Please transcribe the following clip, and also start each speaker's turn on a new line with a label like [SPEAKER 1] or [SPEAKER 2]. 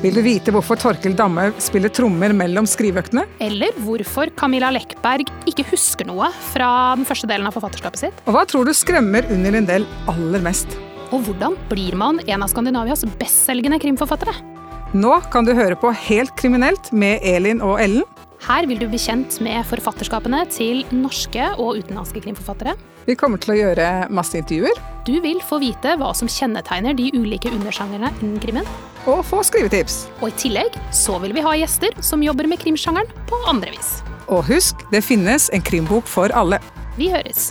[SPEAKER 1] Vil du vite hvorfor Torkil Damme spiller trommer mellom skriveøktene?
[SPEAKER 2] Eller hvorfor Camilla Lekberg ikke husker noe fra den første delen av forfatterskapet sitt.
[SPEAKER 1] Og hva tror du skremmer Unni Lindell aller mest?
[SPEAKER 2] Og hvordan blir man en av Skandinavias bestselgende krimforfattere?
[SPEAKER 1] Nå kan du høre på Helt kriminelt med Elin og Ellen.
[SPEAKER 2] Her vil du bli kjent med forfatterskapene til norske og utenlandske krimforfattere.
[SPEAKER 1] Vi kommer til å gjøre masse intervjuer
[SPEAKER 2] Du vil få vite hva som kjennetegner de ulike undersjangerne innen krimmen.
[SPEAKER 1] og få skrivetips.
[SPEAKER 2] Og i tillegg så vil vi ha gjester som jobber med krimsjangeren på andre vis.
[SPEAKER 1] Og husk, det finnes en krimbok for alle.
[SPEAKER 2] Vi høres.